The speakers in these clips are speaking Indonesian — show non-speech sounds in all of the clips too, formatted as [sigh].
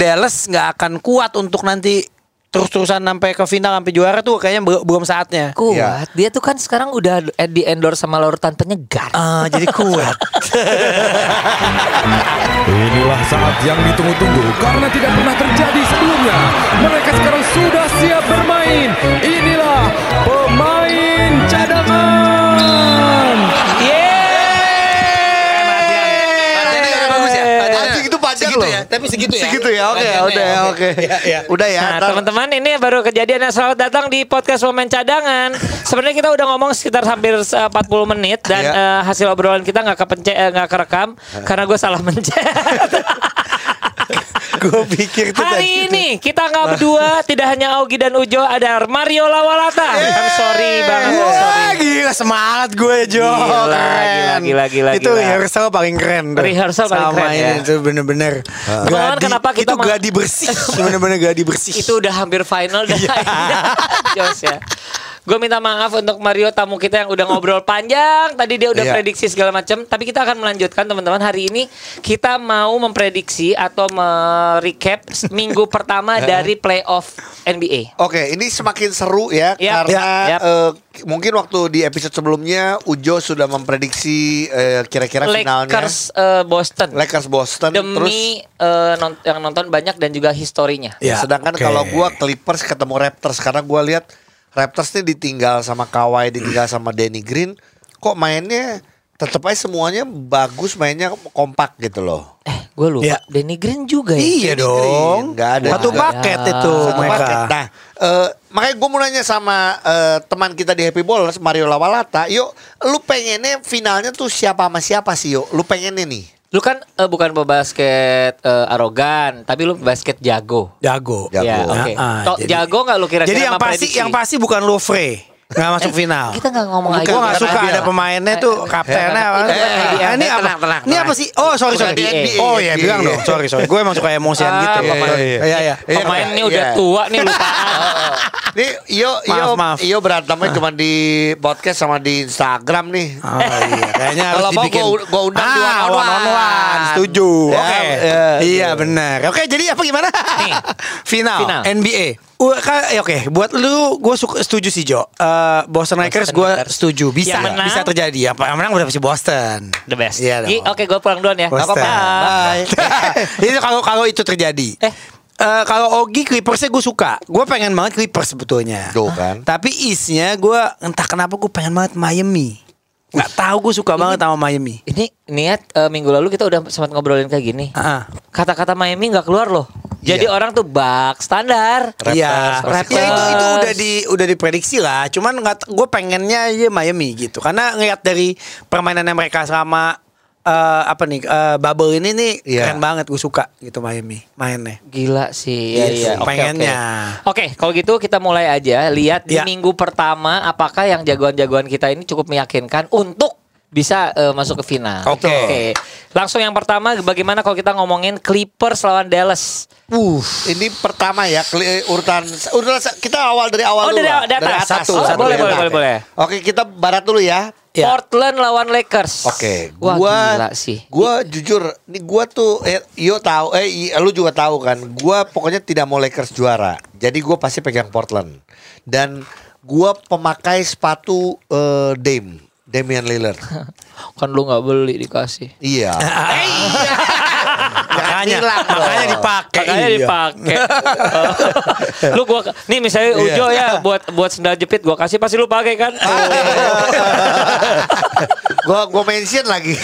Dallas nggak akan kuat untuk nanti terus-terusan sampai ke final sampai juara tuh kayaknya be- belum saatnya. Kuat. Iya. Dia tuh kan sekarang udah di endorse sama larutan penyegar. Ah, jadi kuat. Inilah saat yang ditunggu-tunggu karena tidak pernah terjadi sebelumnya. Mereka sekarang sudah siap bermain. Inilah pemain cadangan. Latihannya udah bagus ya? Latihannya. Anjing itu panjang Segitu loh. ya, tapi segitu ya. gitu Segitu ya, oke, Latihannya udah ya, oke. [laughs] Udah ya. Nah ntar- teman-teman ini baru kejadian yang selamat datang di podcast Momen Cadangan Sebenarnya kita udah ngomong sekitar hampir eh, 40 menit Dan Iya. eh, hasil obrolan kita nggak kepence eh, nggak kerekam Karena gue salah mencet Gue pikir [laughs] itu Nah. tadi. Hari ini kita nggak berdua Tidak hanya Augie dan Ujo Ada Mario Lawalata Bang sorry Bang I'm so sorry Wah gila semangat gue ya, Jo Gila, Keren. gila, gila, gila, Itu gila. rehearsal paling keren tuh. Rehearsal paling Sama keren, ya. ini, Itu bener-bener Teman-teman, Gladi- kenapa kita Itu ma- gladi bersih [laughs] Bener-bener gladi bersih itu udah hampir final dan [laughs] Jos ya. Gue minta maaf untuk Mario tamu kita yang udah ngobrol panjang. Tadi dia udah Iya. prediksi segala macam, tapi kita akan melanjutkan teman-teman. Hari ini kita mau memprediksi atau merecap minggu pertama dari playoff NBA. Oke, ini semakin seru ya Yap, karena yap. eh, k- mungkin waktu di episode sebelumnya Ujo sudah memprediksi eh, kira-kira finalnya Lakers eh, Boston. Lakers Boston terus Iya. Demi eh, non- yang nonton banyak dan juga historinya. Ya, sedangkan oke. kalau gua Clippers ketemu Raptors karena gua lihat Raptors nih ditinggal sama Kawhi, [clears throat] ditinggal sama Danny Green, kok mainnya tetap aja semuanya bagus mainnya kompak gitu loh. Eh, gue lupa. Iya. Danny Green juga ya. Iya dong Iya. Nggak ada. Satu Nggak ada. paket itu Satu mereka paket. Nah, eh, makanya gue mau nanya sama eh, teman kita di Happy Ballers, Mario Lawalata. Yuk, lu pengennya finalnya tuh siapa sama siapa sih yuk? Lu pengennya nih? Lu kan eh, bukan pebasket eh, arogan, tapi lu basket jago. Jago Jago. Ya, oke. Ah, ah, Tok, jadi- jago nggak lu kira-kira Jadi yang sama pasti prediksi? Eh, yang pasti bukan Louvre Gak masuk final Kita nggak Eh, ngomong Gue lagi. gak suka Ideal. ada pemainnya tuh kaptennya apa. Itu Eh, bukan ideal. Ini Tenang, apa? tenang, Ini tenang. apa sih? Oh sorry Bukan sorry. NBA. Oh iya bilang dong. Sorry sorry. Gue emang suka emosian Ah, gitu. pemain. Iya iya. Pemainnya Iya. udah tua nih [laughs] lupaan. Ini Iyo, Maaf, Iyo, maaf. Iyo berantemnya cuma di podcast sama di Instagram nih. Oh iya, kayaknya harus Kalau mau dibikin. gua- gua undang di ah, one on on one. Setuju. Ya, Oke. ya, Iya benar. Oke, jadi apa gimana? [laughs] final, final. NBA. Wah, ka- ya Oke, buat lu gue suka setuju sih Jo. Eh, Boston Lakers gue Lakers. setuju bisa Yang menang? bisa terjadi. Apa yang menang udah pasti Boston. The best. Iya dong. Gi, Oke, gue pulang duluan ya. Nggak Boston. apa-apa. Bye. [laughs] itu kalau kalau itu terjadi. [laughs] Eh. Eh, kalau Ogi Clippersnya gue suka Gue pengen banget Clippers sebetulnya Tuh kan. Tapi isnya gue Entah kenapa gue pengen banget Miami Gak tahu gue suka banget sama Miami Ini niat eh, minggu lalu kita udah sempat ngobrolin kayak gini. Ah. Kata-kata Miami nggak keluar loh. Jadi Iya. orang tuh bak standar. Iya, Raptors. Ya, itu itu udah di udah diprediksi lah. Cuman nggak, gue pengennya ya Miami gitu. Karena ngeliat dari permainannya mereka selama eh, apa nih eh, bubble ini nih Iya. keren banget gue suka gitu Miami mainnya. Gila sih. Iya, Iya iya. sih, Oke, pengennya. Oke, Oke, kalau gitu kita mulai aja lihat di Iya. minggu pertama apakah yang jagoan-jagoan kita ini cukup meyakinkan untuk bisa eh, masuk ke final. Oke. Langsung yang pertama bagaimana kalau kita ngomongin Clippers lawan Dallas? Uh, ini pertama ya kli- urutan urutan kita awal dari awal Oh, dulu. dari awal, lah. dari atas. Oh, boleh, dari boleh, atas. boleh, boleh. Oke, kita barat dulu ya. Iya. Portland lawan Lakers. Oke, Wah, gua gila sih. Gua jujur, nih gua tuh eh, yo tahu eh i- lu juga tahu kan, gua pokoknya tidak mau Lakers juara. Jadi gua pasti pegang Portland. Dan gua pemakai sepatu eh, Dame, Damian [laughs] Lillard. Kan lu nggak beli dikasih. iya. [laughs] [laughs] Makanya hilang dong. Ah, makanya dipakai. Makanya iya. [laughs] dipakai. lu gua nih misalnya Iya. Ujo ya buat buat sendal jepit gua kasih pasti lu pakai kan? [laughs] Ah. [laughs] gua gua mention lagi.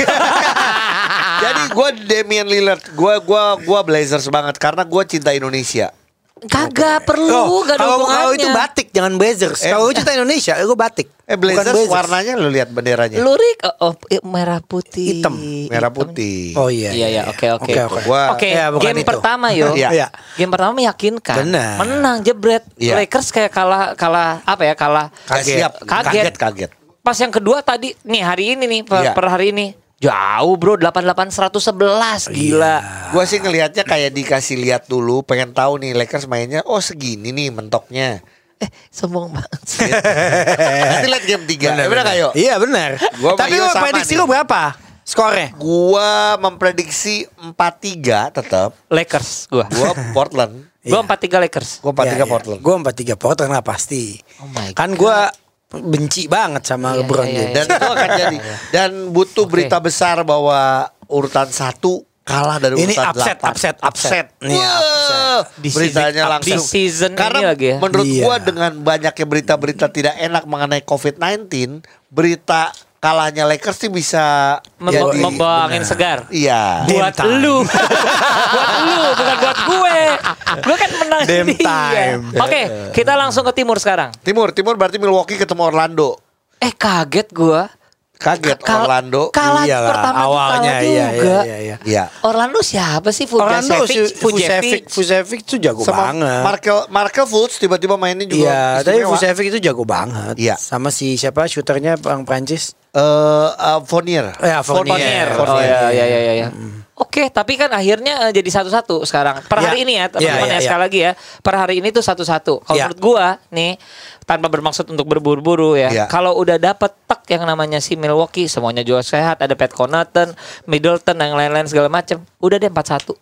[laughs] Jadi gua Damian Lillard, gua gua gua Blazers banget karena gua cinta Indonesia. Kagak perlu, Oh, gak ada kalau kalau hubungannya. itu batik jangan blazers. kalau itu Indonesia, gue batik. Eh Bukan Blazers, warnanya lu lihat benderanya. Lurik oh, oh, eh, merah putih. ya? Hitam. merah putih. Oh iya. Iya ya, oke oke. Oke. Gua- Oke, Ya, bukan game itu. [laughs] pertama yo. Iya. Iya. Game pertama meyakinkan. Benar. Menang jebret. Iya. Lakers kayak kalah kalah apa ya? Kalah Kaget. siap. Kaget. Kaget, kaget. Pas yang kedua tadi nih hari ini nih per, Iya. per hari ini jauh bro 88 Iya. 111 gila. Gue sih ngelihatnya kayak dikasih lihat dulu, pengen tahu nih Lakers mainnya. Oh segini nih mentoknya. Eh, sombong banget. [laughs] sih. Nanti lihat game 3 Bener, bener, Eh. Iya benar. Gua sama Tapi Iyo lo sama prediksi nih. lo berapa? Skornya Gua memprediksi 4-3 tetap. Lakers gua. Iya. Gua Portland. Gua 4-3 Lakers. Gua 4-3 Portland. Gue Iya, empat tiga Portland lah pasti. Oh my kan gue benci banget sama Iya, LeBron iya, James. [laughs] Dan itu [laughs] akan jadi. Dan butuh berita besar bahwa urutan satu kalah dari Ini urutan upset, delapan. upset, upset. Nih, Wah, upset. Di beritanya season- langsung. di season ini Karena lagi ya. menurut Iya. gua dengan banyaknya berita-berita tidak enak mengenai COVID-19, berita kalahnya Lakers sih bisa Mem- iya, jadi. membawa angin segar. Iya. Buat time. lu. [laughs] buat lu, bukan buat gue. Gue kan menang Damn dia. time. Oke, kita langsung ke timur sekarang. Timur, timur berarti Milwaukee ketemu Orlando. Eh kaget gua. Kaget Kal- Orlando. Kalah Iyalah, pertama tuh Iya awalnya, kalah iya, juga. iya, iya, iya. Iya. Orlando siapa sih? Orlando Fujasevic, si- Vucevic, Vucevic tuh jago Sama banget. Markel Markel Fultz tiba-tiba mainnya Iya, juga tapi istimewa. Vucevic itu jago banget. Iya. Sama si siapa shooternya Bang Prancis? Eh, eh, Fournier. Ya, Fournier. Fournier. Oh iya iya iya iya. iya. Oke, tapi kan akhirnya eh, jadi satu-satu sekarang. Per Ya. hari ini ya, teman-teman Ya, ya, ya, ya. sekali lagi ya. Per hari ini tuh satu-satu. Kalau Ya. menurut gua nih tanpa bermaksud untuk berburu-buru ya. Ya. Kalau udah dapet tek yang namanya si Milwaukee, semuanya juga sehat, ada Pat Connaughton, Middleton dan lain-lain segala macam. Udah deh 4-1.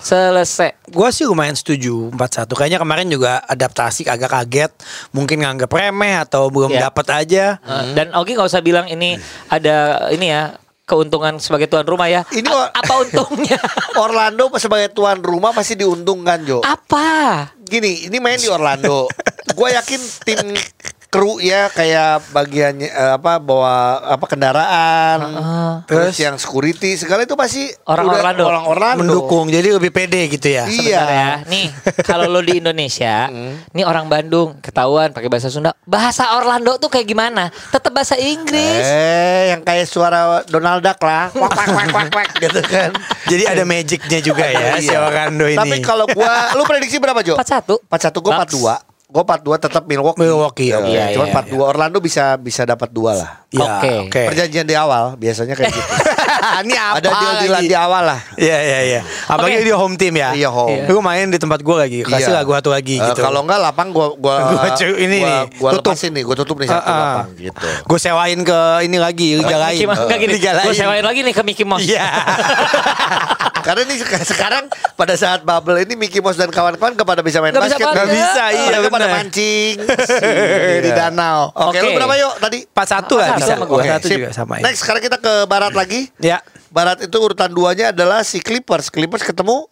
Selesai. Gue sih lumayan setuju 4-1 Kayaknya kemarin juga adaptasi agak kaget Mungkin nganggap remeh atau belum Iya. dapat aja Eh, Dan Ogi nggak usah bilang ini ada ini ya keuntungan sebagai tuan rumah ya. Ini A- wa- apa untungnya? Orlando sebagai tuan rumah pasti diuntungkan, Jo. apa? Gini, ini main di Orlando. Gua yakin tim kru ya kayak bagiannya eh, apa bawa apa kendaraan, terus, Terus? yang security segala itu pasti Orang udah Orlando. orang Orlando. Mendukung jadi lebih pede gitu ya Iya. Hmm. ya. Nih, kalau lo di [laughs] Indonesia, nih orang Bandung ketahuan pakai bahasa Sunda. Bahasa Orlando tuh kayak gimana? Tetap bahasa Inggris. Eh, yang kayak suara Donald Duck [laughs] lah, Wak, wak, wak, wak, wak, gitu kan. Jadi ada magicnya juga ya si Iya. Orlando ini Tapi kalau gua, lu prediksi berapa [laughs] Jo? 41. 41 gua Bucks. 42. Gua 42 tetap Milwaukee. Milwaukee, Ya, oke. iya, Cuman iya, 42 Orlando bisa bisa dapat dua lah. Iya, Oke. Perjanjian di awal biasanya kayak gitu. [laughs] Ini apa Ada deal-dealan lagi? di awal lah. Iya iya iya. Apalagi Oke. dia home team ya. Iya, home. Lu main di tempat gua lagi. Kasih Iya. lah gua satu lagi Eh, gitu. Kalau enggak lapang gua gua [laughs] Gua cu- ini gua, nih, gua tutup. lepasin nih, gua tutup nih satu Ah, ah. lapang gitu. Gua sewain ke ini lagi, liga lain. Mickey Mouse. Oh, Enggak gini. Liga lain. Gue sewain lagi nih ke Mickey Mouse. Iya. Karena ini sek- sekarang pada saat bubble ini Mickey Mouse dan kawan-kawan kepada bisa main Nggak bisa basket. banget. Nggak bisa, iya, Mereka pada benar. [laughs] Iya. mancing di danau. Oke, lu Oke. berapa yuk tadi? Pas satu lah Pas bisa. sama gua. Pas satu sip. juga sama ya. Next, sekarang kita ke barat lagi. Ya. Barat itu urutan duanya adalah si Clippers. Clippers ketemu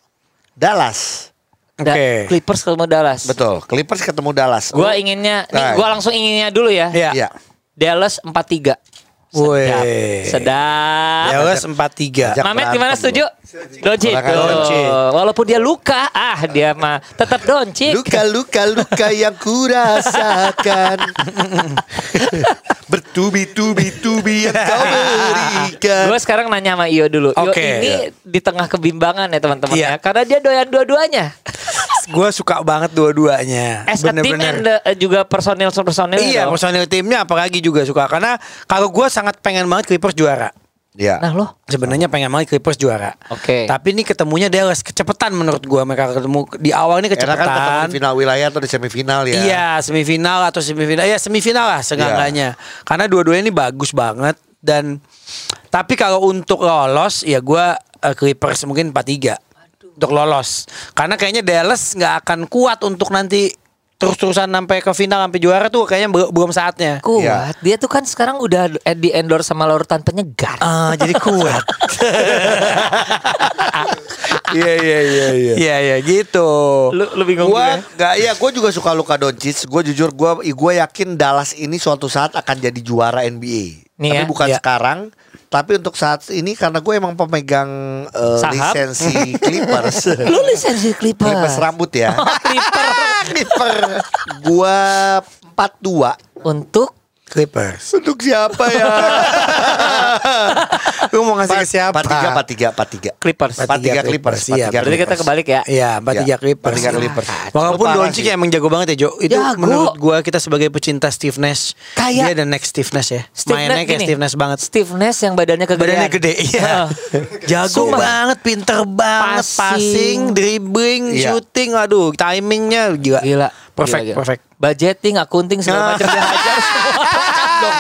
Dallas. Da- Oke. Clippers ketemu Dallas. Betul. Clippers ketemu Dallas. Gue inginnya, nih Nah. gue langsung inginnya dulu ya. Iya. Iya. Dallas 43. Woi. Sedap. Sedap. Ya wes 4-3. Ajak Mamet berantem gimana lu. setuju? Doncic. Silakan, Tuh. Doncic. Walaupun dia luka, ah dia mah tetap Doncic. Luka-luka luka yang kurasakan Bertubi-tubi-tubi yang kau berikan Gue sekarang nanya sama Iyo dulu. Iyo Oke. ini di tengah kebimbangan ya teman-teman Iya. ya, karena dia doyan dua-duanya. Gua suka banget dua-duanya. As a team and the- eh, juga personil personil. Iya, personil timnya apalagi juga suka karena kalau gua sangat pengen banget Clippers juara. Ya Nah loh, Sebenarnya pengen banget Clippers juara. Oke. Tapi ini ketemunya Dallas kecepetan menurut gua mereka ketemu di awal ini Karena kan ketemu kecepetan. di final wilayah atau di semifinal ya Iya semifinal atau semifinal ya semifinal lah seenggaknya karena dua-duanya ini bagus banget dan tapi kalau untuk lolos ya gua eh, Clippers mungkin 4-3 untuk lolos Karena kayaknya Dallas nggak akan kuat untuk nanti terus-terusan sampai ke final sampai juara tuh kayaknya be- belum saatnya. kuat. Iya. Dia tuh kan sekarang udah di endorse sama larutan penyegar. Ah, jadi kuat Iya iya iya iya iya iya gitu Lu, lu bingung Gua juga. nggak iya, gua juga suka Luka Doncic. Gua jujur gua gua yakin Dallas ini suatu saat akan jadi juara NBA. Nih tapi ya, bukan iya. sekarang, tapi untuk saat ini karena gue emang pemegang eh, Saham? [laughs] lisensi Clippers. Lu lisensi Clippers. Oh, Clippers rambut [laughs] ya. Clipper [laughs] Clipper. Gua 42. untuk Clippers Untuk siapa [laughs] ya? lu mau ngasih ke siapa 43 43 43. Clippers. 43 Clippers, Iya, 43 Berarti kita kebalik ya. Iya, 43 Iya, Clippers. 43 Clippers. Walaupun Itu parah Doncic sih. emang jago banget ya, Jo. Itu Jago. menurut gua kita sebagai pecinta Steve Nash, Kayak- dia dan next Steve Nash ya. Steve Mainnya Nash kayak gini. Steve Nash banget. Steve Nash yang badannya kegedean. Ah. Badannya [laughs] gede, iya. Jago Sumpah. banget, pinter banget, Passing. passing, dribbling, Iya. shooting, aduh, timingnya gila. Gila. Perfect, Gila, gila. perfect. Ah. [laughs] Budgeting, akunting segala macam dia hajar semua. dong.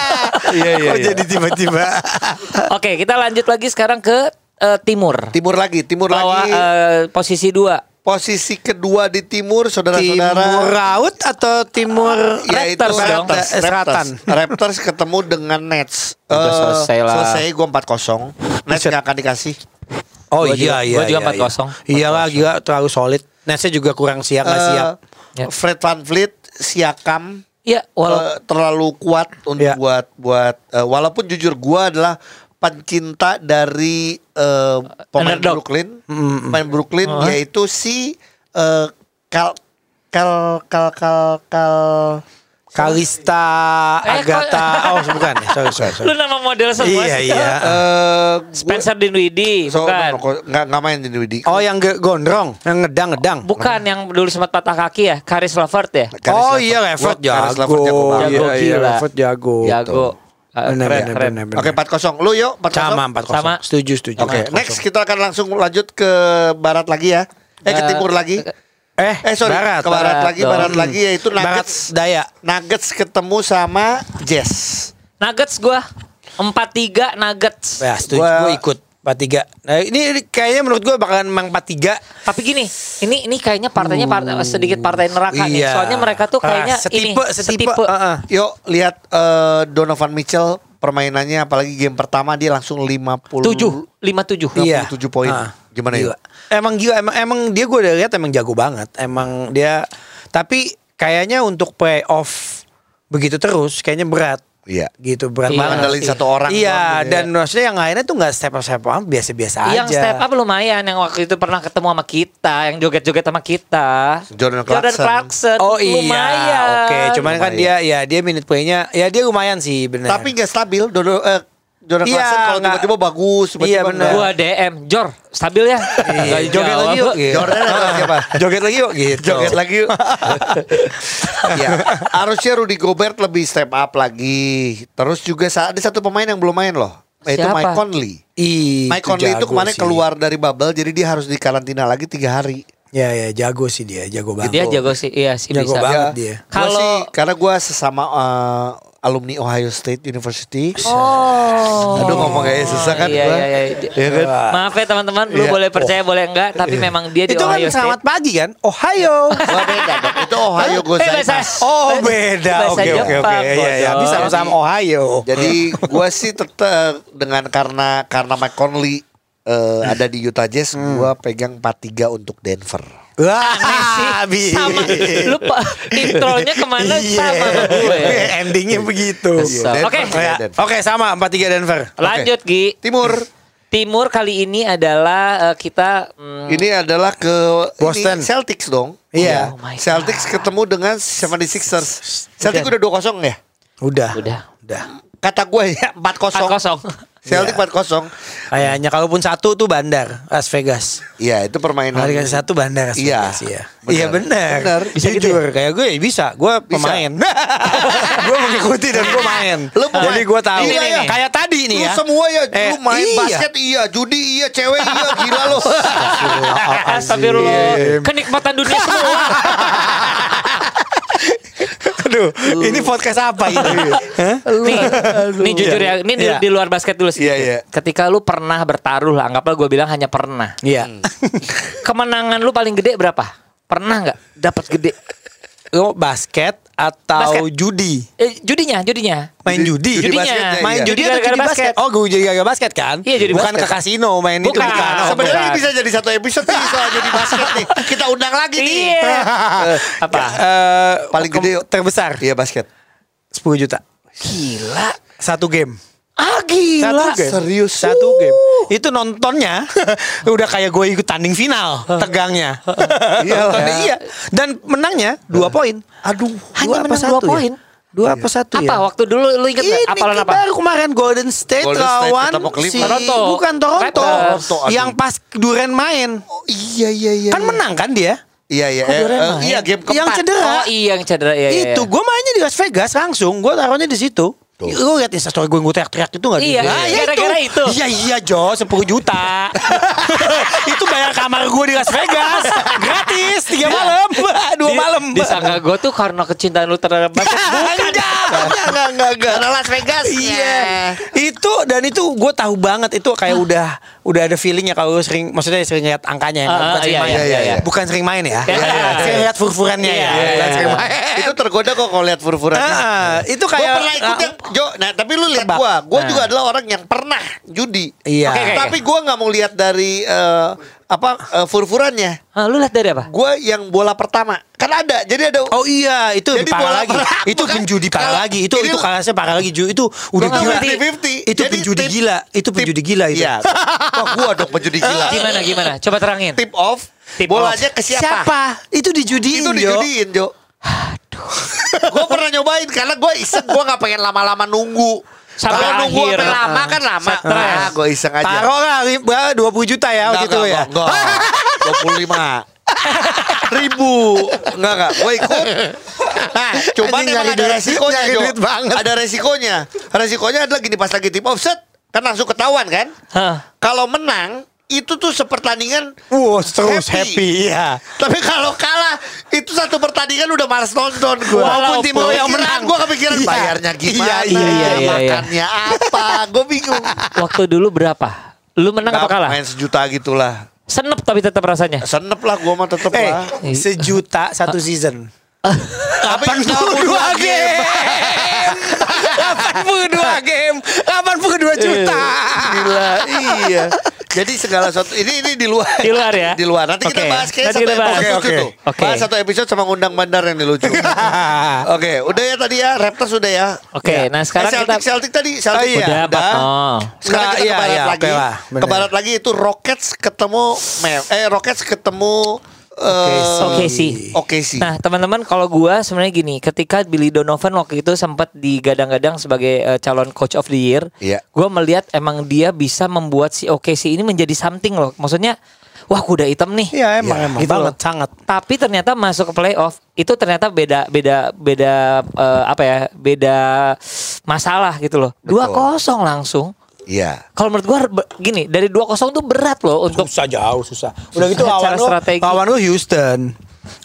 Iya, iya, Kok iya. jadi tiba-tiba. Oke, kita lanjut lagi sekarang ke eh, timur. timur lagi, timur Bahwa lagi. eh, posisi dua. posisi kedua di timur, saudara-saudara. Timur laut atau timur yaitu Raptors dong. Raptors, Eh, Raptors. Selatan. Raptors ketemu dengan Nets. Udah Eh, selesai lah. Selesai gue 4-0. Nets nggak akan dikasih. Oh Gua juga- iya iya. gua juga iya, 4-0. Iya Iya lah gila terlalu solid. Netsnya juga kurang siap nggak Eh, siap. Ya. Fred Van Vliet, Siakam Ya, walau eh, terlalu kuat untuk Ya. buat buat eh, walaupun jujur gua adalah pencinta dari eh, pemain Underdog. Brooklyn, pemain Brooklyn Oh. yaitu si eh, Cal Cal Cal Cal Cal Kalista, Eh, Agatha, oh bukan, ya. sorry, sorry, sorry. lu nama model semua Iya sih. iya. eh, gua- Spencer Dinwiddie, so, bukan. no, no, kok- nggak nggak main Dinwiddie. Oh yang ge- gondrong, yang ngedang ngedang. Bukan yang dulu sempat patah kaki ya, Karis Levert ya. Karis oh Levert. iya Levert Gua- Karis jago. Levert jago banget. Jago Iya, iya, gila. Levert jago. Jago. Eh, Benar keren, benar keren. benar. benar. Oke, 4-0. Lu yuk, 4-0. sama 4 Sama. Setuju setuju. Oke, next kita akan langsung lanjut ke barat lagi ya. Eh ke Eh, timur lagi. Eh, Eh sorry, barat, ke barat, barat lagi, dong. barat lagi yaitu Barat Nuggets. daya. Nuggets ketemu sama Jazz. Nuggets gua 4-3 Nuggets. Ya, setuju Gua- gue ikut. 43. Nah, ini, ini kayaknya menurut gue bakalan memang 43. Tapi gini, ini ini kayaknya partainya partai, sedikit partai neraka nih. Hmm. Iya. Soalnya mereka tuh kayaknya Ah, setipe, ini setipe. ah. Heeh. Yuk lihat eh, Donovan Mitchell permainannya apalagi game pertama dia langsung 50 7 57. Iya. 67 poin. Ah, Gimana ya? gila. yuk? Emang gila, emang emang dia gue udah lihat emang jago banget. Emang dia tapi kayaknya untuk playoff begitu terus kayaknya berat. Iya. Gitu berat Iya banget. Mengandalkan sih. satu orang. Iya, doang, gitu ya. dan maksudnya yang lainnya tuh nggak step up step up biasa-biasa Yang aja. step up lumayan yang waktu itu pernah ketemu sama kita, yang joget-joget sama kita. Jordan Clarkson. Clarkson. Oh iya, Lumayan. oke. Cuman kan dia ya dia minute playnya ya dia lumayan sih benar. tapi nggak stabil. Dono eh Jordan Iya, Clarkson kalau nggak- tiba-tiba bagus, tiba-tiba Iya, benar. enggak. gua DM, Jor, stabil ya? [laughs] Iya, Nggak joget jawab. lagi yuk. gitu. Jordan atau siapa? [laughs] Joget lagi yuk gitu. Joget lagi yuk. Oh. [laughs] ya, harusnya Rudy Gobert lebih step up lagi. Terus juga sa- ada satu pemain yang belum main loh. Nah, Itu Siapa? Mike Conley. Ih, Mike Conley itu jago kemarin sih. keluar dari bubble, jadi dia harus dikarantina lagi tiga hari. Ya ya jago sih dia, jago banget. Dia jago sih, iya sih Jago bisa. banget Ya, dia. gua Kalau- sih, karena gue sesama eh, alumni Ohio State University. Oh. Aduh ngomong kayak susah kan Iya, gua. iya, iya. Di- Iya kan? Maaf ya teman-teman, lu Iya. boleh percaya boleh enggak, tapi memang dia di itu kan Ohio selamat State. pagi kan? Ohio. Gua beda dong. Itu Ohio Eh, bahasa- Gozaimas. Oh beda. Bahasa Oke oke oke. Jepang, Iya iya. bodoh. Tapi sama-sama Ohio. Jadi gue sih tetap dengan karena karena Mike Conley eh, ada di Utah Jazz, Hmm. gua pegang 4-3 untuk Denver. Wah, Aneh sih. habis. Sama. Lu [laughs] pa- intronya kemana Iya. sama ya. sama [laughs] gue. Endingnya begitu. Kesel. Denver, Oke. tiga Ya, Denver. Oke sama 43 Denver. Lanjut Gi. Timur. Timur kali ini adalah eh, kita mm, Ini adalah ke Boston. ini Celtics dong. Iya. Oh my Celtics ketemu dengan 76ers. Celtics udah 2-0 ya? Udah. Udah. Udah. Kata gue ya 4-0. [laughs] 4-0. Iya. Celtics 4-0. Kayaknya kalaupun satu tuh bandar Las Vegas. Iya, itu permainan. Hari kan satu bandar Iya. Iya. Iya. Benar. Iya benar. Benar. Bisa Jujur, kayak gue ya bisa. Gue pemain. [laughs] gue mengikuti dan gue main. Lu pemain. Jadi gue tahu. Iya, Gila ya. Kayak tadi nih Lu ya. semua ya, Eh, lu main iya. basket iya, judi iya, cewek [laughs] iya, gila lo. Iya, Astagfirullah. Ah, Kenikmatan [laughs] dunia semua. Aduh, ini podcast apa [laughs] ini? Hah? nih, nih jujur ya, ini di, Iya. di luar basket dulu sih. Iya, iya. Ketika lu pernah bertaruh lah, anggaplah gue bilang hanya pernah. Iya. Kemenangan lu paling gede berapa? Pernah nggak dapat gede? Lu basket atau Basket. judi? Eh, judinya, judinya. Main judi. Judi Judinya. basket ya, Main iya. judi Judi atau gara-gara judi basket? basket. Oh, gue jadi gara-gara basket kan? Iya, judi Bukan basket. ke kasino main itu Bukan. bukan. Oh, Sebenarnya ini bukan. bisa jadi satu episode nih soal judi basket nih. Kita undang lagi [laughs] nih. Iya. Apa? Eh, Paling ke- gede yuk. terbesar [laughs] Iya basket. 10 juta. Gila. Satu game. Ah gila. Satu game. serius. Satu game. Itu nontonnya [laughs] udah kayak gue ikut tanding final tegangnya. [laughs] ya. Iyalah. Nontonnya iya. Dan menangnya dua poin. Aduh, Hanya menang dua poin? Dua apa satu Iya. Apa ya? waktu dulu lu inget Ini nggak? Apalan ke- apa? baru kemarin Golden State Golden State lawan ketemu si Clippers. Toronto. bukan Toronto, Raptors. Toronto, aduh. yang pas Duren main Oh, iya iya iya. kan menang kan dia? Iya iya. Kok eh, Duren eh, main? iya game keempat. Yang cedera. Oh iya yang cedera ya. itu gue mainnya di Las Vegas langsung gue taruhnya di situ lu lihat instastory gue gue teriak-teriak ya itu gak Iya, iya. Gara-gara itu. Iya iya Jo 10 [laughs] juta Iya. [laughs] Itu bayar kamar gue di Las Vegas Gratis 3 malam 2 malam September. Disangka gue tuh karena kecintaan lu terhadap basket [laughs] [laughs] Bukan enggak, enggak, enggak, enggak, enggak. Karena Las Vegas. Iya. Itu dan itu gue tahu banget itu kayak udah udah ada feelingnya kalau lu sering maksudnya sering lihat angkanya ya, Ah, bukan ah, sering iya, main. iya, iya, iya. Bukan sering main ya. Iya, iya, iya. Sering lihat furfurannya Iya, ya. iya, Bukan Iya. sering main. Itu tergoda kok kalau lihat fur-furannya. Ah, itu Gue kayak pernah ya, ikut yang Jo, nah tapi lu ya. lihat Tebak. gua, gua Nah. juga adalah orang yang pernah judi. Iya. Oke, oke, Tapi gua nggak mau lihat dari eh, apa eh, fur-furannya. Ah, Lu lihat dari apa? Gua yang bola pertama. Kan ada, jadi ada Oh iya, itu Jadi lebih parah bola lagi. perang, [laughs] itu bukan? penjudi Kalau- parah lagi. Itu ini itu lu- kalasnya parah lagi. Ju. Itu udah Gua gila. 50-50. Itu Jadi penjudi tip- gila. Itu tip- penjudi gila itu. [laughs] Iya. Wah, gua dong penjudi gila. Gimana gimana? Coba terangin. Tip off, Tip bolanya off. ke siapa? Itu dijudiin, Iya, Itu Jo. dijudiin, Jo. [laughs] Aduh. gue pernah nyobain karena gue iseng gue nggak pengen lama-lama nunggu. Sampai Kalau nunggu akhir. sampai lama kan lama. Stres. gue iseng aja. Taruh lah li- bah, 20 juta ya waktu itu ya. Dua puluh lima ribu enggak enggak gue ikut [laughs] nah cuman Anjing, emang nyari ada duit- resikonya nyari Jo. duit banget. ada resikonya resikonya adalah gini pas lagi tip offset kan langsung ketahuan kan Hah. kalau menang itu tuh sepertandingan Wow, terus happy, Happy. ya. tapi kalau kalah itu satu pertandingan udah malas nonton gue. Walaupun tim lo yang menang. gue kepikiran Iya. bayarnya gimana, Iya, iya, iya, iya, iya. makannya apa, gue bingung. Waktu dulu berapa? Lu menang apa kalah? Main sejuta gitulah. Senep tapi tetap rasanya. Senep lah gue mah tetep Eh, lah. [laughs] sejuta satu season. Tapi 82 game. [laughs] 82 game. 82 juta. [laughs] Gila, iya. Jadi segala sesuatu ini ini di luar. Di luar ya? Di luar. Nanti kita Oke. bahas kayak Nanti satu kita bahas. Oke, episode lucu oke. tuh. Oke. Bahas satu episode sama ngundang bandar yang [laughs] lucu. Oke, udah ya tadi ya Raptors sudah ya. Oke, Ya. nah sekarang Eh, Celtic, kita- Celtic tadi Celtic ya? Oh, iya. Udah Nah, 4-0. Nggak, Sekarang iya, kita ke barat iya, lagi. oke lah, bener. ke barat lagi itu Rockets ketemu Mel. Eh Rockets ketemu eh, Oke sih. Oke sih. Nah, teman-teman kalau gua sebenarnya gini, ketika Billy Donovan waktu itu sempat digadang-gadang sebagai eh, calon coach of the year, Iya. gua melihat emang dia bisa membuat si OKC ini menjadi something loh. Maksudnya, wah kuda hitam nih. Iya, emang emang Gitu banget loh. sangat. Tapi ternyata masuk ke playoff itu ternyata beda beda beda eh, apa ya? Beda masalah gitu loh. 2-0 langsung. Iya. Kalau menurut gua be- gini, dari 2-0 tuh berat loh untuk Susah jauh, susah. Udah gitu Susah lawan cara lu, strategi. lawan lu Houston.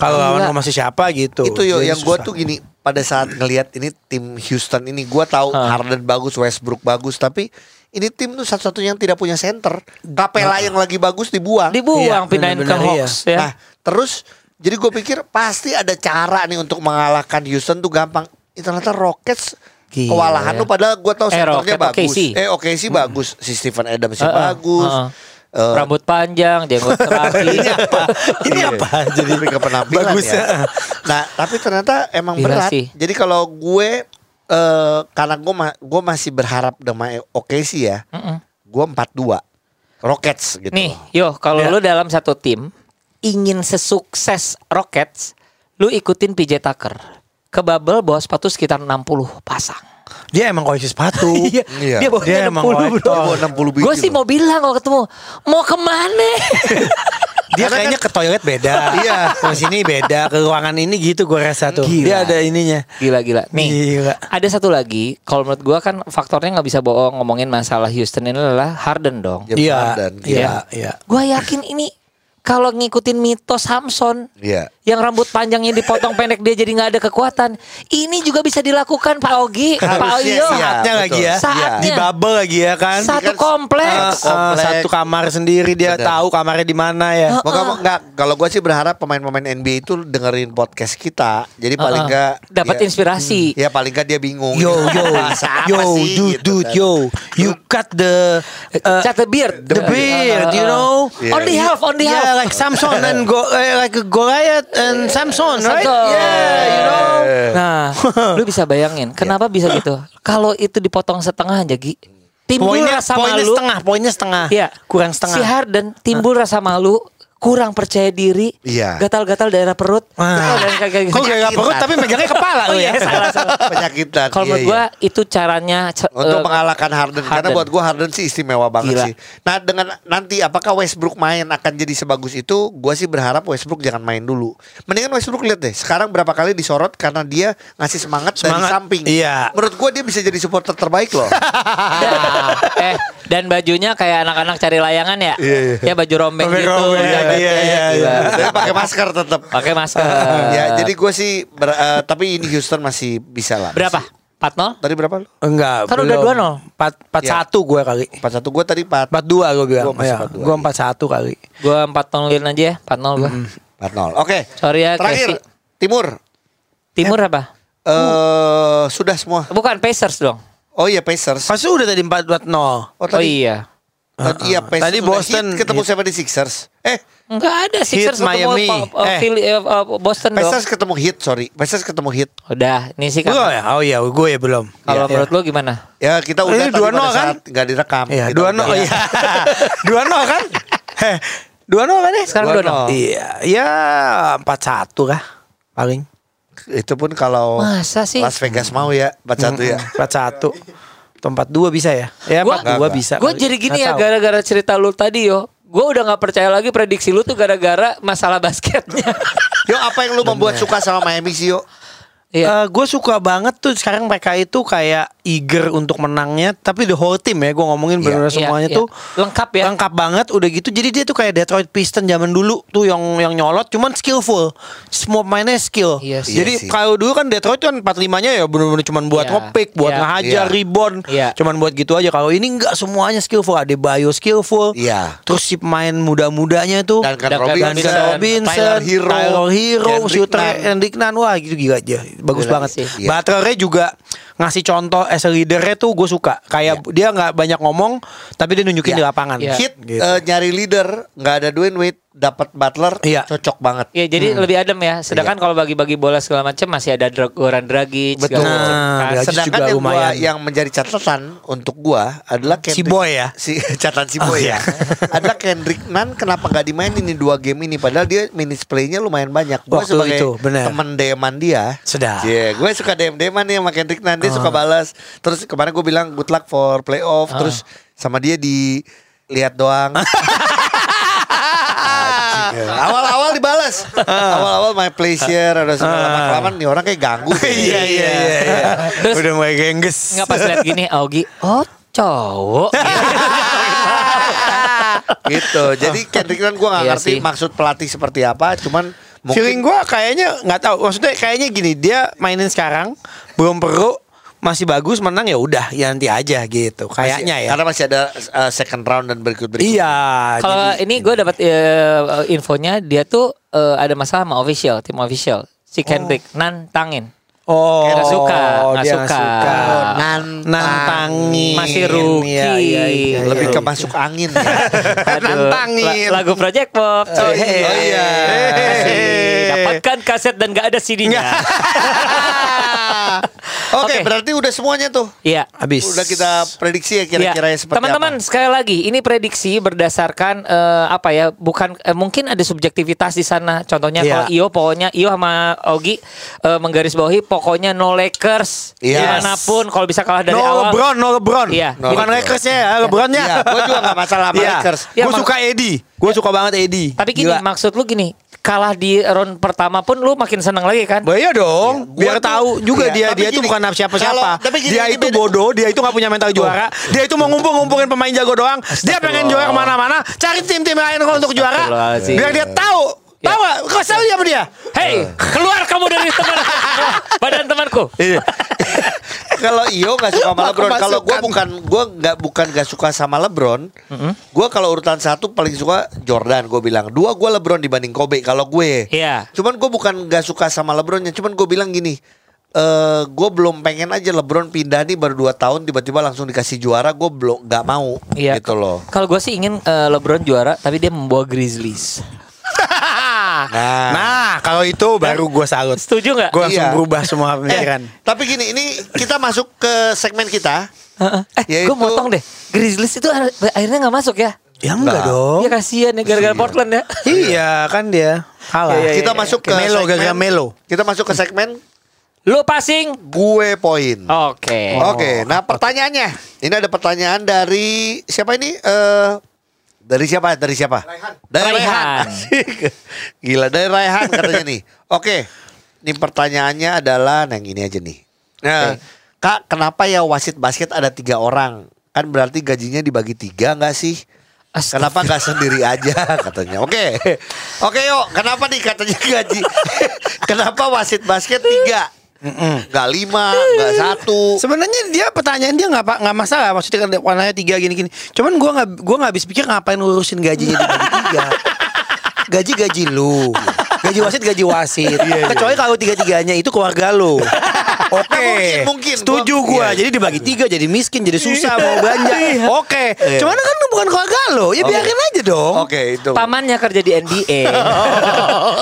Kalau lawan Gila. lu masih siapa gitu. Itu yo Jadi yang gue susah. tuh gini pada saat ngelihat ini tim Houston ini gue tahu Harden bagus, Westbrook bagus, tapi ini tim tuh satu-satunya yang tidak punya center. Capella yang lagi bagus dibuang. Nah. Iya, dibuang pindahin ke benar-benar iya. Hawks ya. Nah, terus jadi gue pikir pasti ada cara nih untuk mengalahkan Houston tuh gampang. Eh, Ternyata Rockets Gila, kewalahan ya. tuh padahal gue tahu Eh, senternya Rocket bagus. OKC. Eh oke sih bagus, si Stephen Adams sih Heeh, bagus. heeh. Eh, Rambut panjang, jenggot [laughs] terakhir. ini apa? Ini Iya. [laughs] apa? Jadi ke penampilan Bagusnya. ya. Nah, tapi ternyata emang Gila Iya berat. sih. Jadi kalau gue eh karena gue ma- gue masih berharap sama oke sih ya. Gue 4-2 Rockets gitu. Nih, yo kalau lu dalam satu tim ingin sesukses Rockets, lu ikutin PJ Tucker. Ke bubble bawa sepatu sekitar 60 pasang. Dia emang koleksi sepatu. [laughs] Iya. Dia bawa Dia emang kolektor. Bawa 60 biji Gue sih loh. mau bilang kalau ketemu, mau kemana? Dia Karena kan kayaknya ke toilet beda. [laughs] Iya. Ke sini beda, ke ruangan ini gitu gue rasa tuh. Gila. Dia ada ininya. [laughs] gila gila. Nih, Gila. ada satu lagi. Kalau menurut gue kan faktornya nggak bisa bohong ngomongin masalah Houston ini adalah Harden dong. James Iya. Harden, gila. Iya, iya. Gue yakin ini kalau ngikutin mitos Samson, Iya. yang rambut panjangnya dipotong pendek dia jadi nggak ada kekuatan. Ini juga bisa dilakukan Pak Ogi, Pak Harusnya Oyo. sih, ya. Saatnya betul. lagi ya. Saatnya. Di bubble lagi ya kan. Satu Eh, kan- kompleks. Satu eh, komplek. satu kamar sendiri dia Benar. tahu kamarnya di mana ya. Ah, Moga moga enggak kalau gue sih berharap pemain-pemain NBA itu dengerin podcast kita. Jadi Uh-uh. paling enggak Dapat ya- inspirasi. Hmm, Ya paling enggak dia bingung. Yo [laughs] yo Bahasa apa yo sih, dude gitu dude kan. yo you cut the uh, Cut Eh, the beard. uh, the beard Uh, you know Yeah. Only half, only yeah half. like Samson and go eh, like Goliath and Samson right Samson. yeah you know [laughs] Nah, lu bisa bayangin kenapa bisa gitu? Kalau itu dipotong setengah aja, Gi. Timbul poinnya rasa poinnya malu. setengah poinnya setengah Iya. kurang setengah Si Harden timbul rasa malu, kurang percaya diri, Iya. gatal-gatal daerah perut, Oh, gatal daerah gitu. kaki- Kok gak perut tapi megangnya kepala Oh lu iya, ya salah, salah. [laughs] Penyakitan. Kalau iya, menurut iya. gua itu caranya ce- Untuk eh, mengalahkan Harden. Karena Harden. buat gue Harden sih istimewa banget Gila. sih. Nah dengan nanti apakah Westbrook main akan jadi sebagus itu? Gue sih berharap Westbrook jangan main dulu. Mendingan Westbrook lihat deh. Sekarang berapa kali disorot karena dia ngasih semangat, dari Semangat, samping. iya. Menurut gue dia bisa jadi supporter terbaik [laughs] loh. Ah, Iya, Nah, eh dan bajunya kayak anak-anak cari layangan ya. Ya baju rombeng gitu. Rombeng-rombeng, Jangan Iya iya iya. Tapi pakai masker tetap. Pakai masker. ya, jadi gue sih ber- eh, tapi ini Houston masih bisa lah. Berapa? 4-0? Tadi berapa lu? Enggak. Kan udah 2-0. 4 1 gue kali. 41 gue tadi 4 4 2 gue bilang. Gua masih Iya, 4-2. Gue 4 1 kali. Gue 4-0 lilin aja ya. 4-0 gue. 4-0. Oke. Sorry ya, Terakhir Timur. Timur apa? Eh sudah semua. Bukan Pacers dong. Oh iya Pacers. Pas udah tadi 4 4 0. Oh Oh tadi. iya. Tadi iya Pacers. Tadi udah Boston. hit ketemu siapa di Sixers? Eh Enggak ada Heat, Sixers ketemu Miami. Pa- pa- Eh. Philly- eh, eh, Boston dong. Pacers ketemu Heat, sorry. Pacers ketemu Heat. Udah, ini sih kan. Gue ya. Oh iya, gue ya belum. Kalau Iya, menurut iya. lo gimana? Ya Ini kita udah tadi 2-0 pada kan? saat nggak direkam. Iya, Kita 2 0 udah- iya. [laughs] 2 0 kan? Heh, 2 0 kan ya? Sekarang 2 2-0. 0. Iya, ya 4 1 kah paling. [laughs] Itu pun kalau Masa sih? Las Vegas mau ya, 4-1 ya. 4 1. Atau 4 2 bisa ya? Ya 4 Gua- 2 bisa. Gue kali. jadi Nggak gini ya tahu. gara-gara cerita lu tadi yo. Gue udah nggak percaya lagi prediksi lu tuh gara-gara masalah [laughs] basketnya. Yo apa yang lu membuat suka sama Miami sih yo? Iya. gue Eh, suka banget tuh sekarang mereka itu kayak eager untuk menangnya tapi the whole team ya gue ngomongin benar-benar Iya, semuanya iya. tuh Lengkap ya. lengkap banget udah gitu jadi dia tuh kayak Detroit Piston zaman dulu tuh yang yang nyolot cuman skillful semua mainnya skill Iya sih. jadi Iya sih. kalau dulu kan Detroit kan 45 nya ya benar-benar cuman buat Iya. ngepick buat Iya. ngehajar Iya. rebound Iya. cuman buat gitu aja kalau ini nggak semuanya skillful ada bio skillful Iya. terus si pemain muda-mudanya tuh Duncan Duncan Robinson, Duncan Robinson, Iya, Tyler Hero, Tyler Hero, Kendrick shooter Nunn. Kendrick Nunn. wah gitu gila aja, bagus Gila banget. sih. Iya. Butlernya juga ngasih contoh as a leadernya tuh gue suka. Kayak dia nggak banyak ngomong, tapi dia nunjukin Iya. di lapangan. Iya. Hit Gitu. eh, nyari leader, nggak ada Dwayne Wade, dapat Butler, Iya. cocok banget. Ya jadi Hmm. lebih adem ya. Sedangkan kalau bagi-bagi bola segala macam masih ada Dra- Goran Dragic. Betul. segala macem. Nah, Dragic sedangkan juga yang, gua- lumayan. yang menjadi catatan untuk gua adalah Si Boy ya? iya. Si [laughs] catatan si Boy ya. [laughs] adalah Kendrick Nunn kenapa nggak dimainin di dua game ini padahal dia minutes play-nya lumayan banyak. Gua Waktu sebagai itu, benar. teman DM-an dia. Sedap. Iya, gue suka DM-DM-an nih sama Kendrick Nunn, dia Ah. suka balas. Terus kemarin gue bilang good luck for playoff, terus sama dia di lihat [laughs] doang. Anjing, ya. Ah. Awal-awal dibalas. Awal-awal my pleasure ada segala lama-kelamaan nih orang kayak [laughs] ganggu. Ah. Iya iya iya. [laughs] iya. Terus- Udah mulai gengges. [laughs] Nggak pas lihat gini Augie. Oh cowok. [laughs] gitu. [laughs] Jadi Kendrick Nunn gue gak Iya ngerti sih. maksud pelatih seperti apa, cuman Feeling gue kayaknya nggak tahu. Maksudnya kayaknya gini dia mainin sekarang belum perlu masih bagus menang ya udah ya nanti aja gitu kayaknya masih- ya Karena masih ada uh, second round dan berikut berikut. iya Kalau jadi- ini gue dapat eh, infonya dia tuh eh, ada masalah sama official, tim official. Si Kendrick nantangin. oh Nggak suka, nggak dia nggak suka. suka. Nantangin. Nantangin. Masih rookie. Iya, iya, iya, Lebih iya. ke masuk angin ya. Aduh, [laughs] Nantangin. la- lagu Project Pop. Oh, cuy. iya. Kasih. Hehehe. Dapatkan kaset dan gak ada [laughs] CD-nya. [laughs] Oke, Oke. berarti udah semuanya tuh. Iya. Habis. Udah kita prediksi ya kira-kira Iya. ya seperti Teman-teman apa. sekali lagi ini prediksi berdasarkan eh, apa ya? Bukan eh, mungkin ada subjektivitas di sana. Contohnya Iya. kalau Io pokoknya Io sama Ogi eh, menggarisbawahi pokoknya no Lakers Yes. dimanapun kalau bisa kalah dari no awal. LeBron, no LeBron. Iya. No Bukan LeBron. Lakersnya ya, LeBronnya. Gitu. Iya, gua juga nggak masalah sama Lakers. Iya. Iya, gue mak- suka Eddie. Gue suka banget Eddie. Tapi gini Gila. maksud lu gini, kalah di round pertama pun lu makin seneng lagi kan? Bah, iya dong, Iya, biar gua tuh- tahu juga iya, dia tapi dia itu gini, bukan siapa-siapa. kalau- tapi gini, Dia ini itu beda. bodoh, dia itu nggak punya mental juara. Dia itu mau ngumpul-ngumpulin pemain jago doang. Dia pengen juara kemana-mana. Cari tim-tim lain kok untuk juara. Astagfirullahaladzim. iya. Biar dia tahu. Tahu nggak? Kau tahu dia apa dia? Eh. Hei, keluar kamu [laughs] dari teman badan temanku. Iya. Kalau Iyo nggak suka sama Aku LeBron, kalau gue masukkan. bukan gue nggak bukan nggak suka sama LeBron. Gue kalau urutan satu paling suka Jordan. Gue bilang dua gue LeBron dibanding Kobe. Kalau Ah. gue, Iya. Cuman gue bukan nggak suka sama LeBronnya. Cuman gue bilang gini. eh gue belum pengen aja LeBron pindah nih baru 2 tahun tiba-tiba langsung dikasih juara gue belum nggak mau Iya. gitu loh Kalau gue sih ingin eh, LeBron juara, tapi dia membawa Grizzlies. Nah. [laughs] Nah, kalau itu iya kan? baru gue salut. Setuju nggak? Gue langsung Iya. berubah semua pemikiran. Eh, tapi gini, ini kita masuk ke segmen kita. Heeh. Eh, Yaitu- gue motong deh. Grizzlies itu ar- akhirnya nggak masuk ya? ya enggak Enggak. dong. Ya kasihan ya gara-gara Portland ya. [laughs] Iya kan dia kalah. kita masuk ke iya, Melo, gara-gara Melo. Kita masuk ke segmen Lu passing. gue poin. Oke. Oke, nah pertanyaannya. Ini ada pertanyaan dari siapa ini? Eh dari siapa? Dari siapa? Raihan. Dari Raihan. [laughs] Asik. Gila, dari Raihan katanya nih. Oke. Ini pertanyaannya adalah yang ini aja nih. Nah, Kak, kenapa ya wasit basket ada tiga orang? Kan berarti gajinya dibagi tiga nggak sih? Kenapa nggak sendiri aja katanya. Oke. Oke yuk, kenapa nih katanya gaji? [laughs] kenapa wasit basket tiga? Nggak lima, nggak satu. Sebenarnya dia pertanyaan dia nggak apa- nggak masalah maksudnya kan warnanya tiga gini gini. Cuman gua nggak gua nggak habis pikir ngapain ngurusin gajinya dibagi tiga. Gaji gaji lu. Gaji wasit gaji wasit. Kecuali kalau tiga tiganya itu keluarga lu. Iya, Oke, mungkin, mungkin. setuju Gua- gua. iya. Jadi dibagi tiga, jadi miskin, jadi susah mau belanja. Oke, cuman kan lu bukan keluarga lo, ya biarin aja dong. Oke, itu. Pamannya kerja di [laughs] NBA.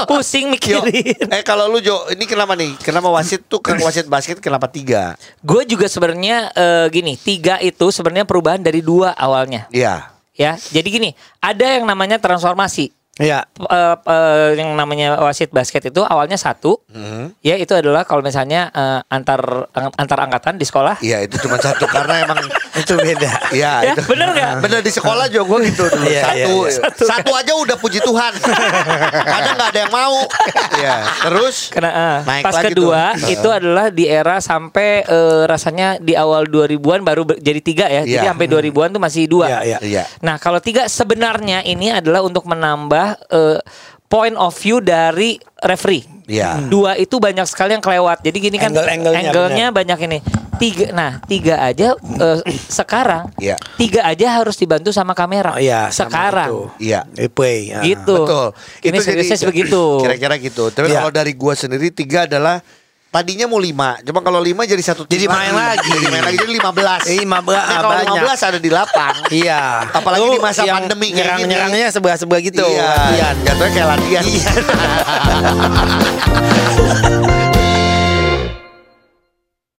Pusing Yo, mikirin. eh kalau lu Jo, ini kenapa nih? Kenapa wasit tuh kan wasit basket kenapa tiga? Gue juga sebenarnya eh, gini, tiga itu sebenarnya perubahan dari dua awalnya. Iya. Ya, jadi gini, ada yang namanya transformasi. Iya. Eh, eh, yang namanya wasit basket itu awalnya satu, Hmm. ya itu adalah kalau misalnya eh, antar antar angkatan di sekolah. Iya itu cuma satu karena emang Itu beda. Ya, Iya itu bener nggak? Bener di sekolah juga gue gitu dulu Iya, satu, iya, iya. satu aja udah puji Tuhan Kadang nggak ada yang mau Iya Terus Kena, eh, naik pas lagi kedua tuh. itu adalah di era sampai eh, rasanya di awal 2000-an baru ber- jadi tiga ya. Jadi Iya. sampai 2000-an tuh masih dua. Hmm. Iya, iya. Iya Nah, kalau tiga sebenarnya ini adalah untuk menambah eh, point of view dari referee. Hmm. Iya. Dua itu banyak sekali yang kelewat. Jadi gini kan Angle-angle-nya, angle-nya banyak ini. Tiga, nah tiga aja eh, sekarang Iya. tiga aja harus dibantu sama kamera. Oh, iya, sama sekarang. itu. Iya Replay. ya. Gitu. Betul Ini jadi- seriusnya begitu. [clears throat] Kira-kira gitu Tapi Iya. kalau dari gue sendiri Tiga adalah Tadinya mau lima Cuma kalau lima jadi satu Jadi tim main lagi. Jadi main lagi Jadi lima belas Nah, Eh, 15, Kalau banyak. lima belas ada di lapang Iya. Apalagi Lu di masa yang pandemi kayak gini. Nyerang-nyerangnya sebelah-sebelah gitu. Iya Latihan. Jatuhnya kayak latihan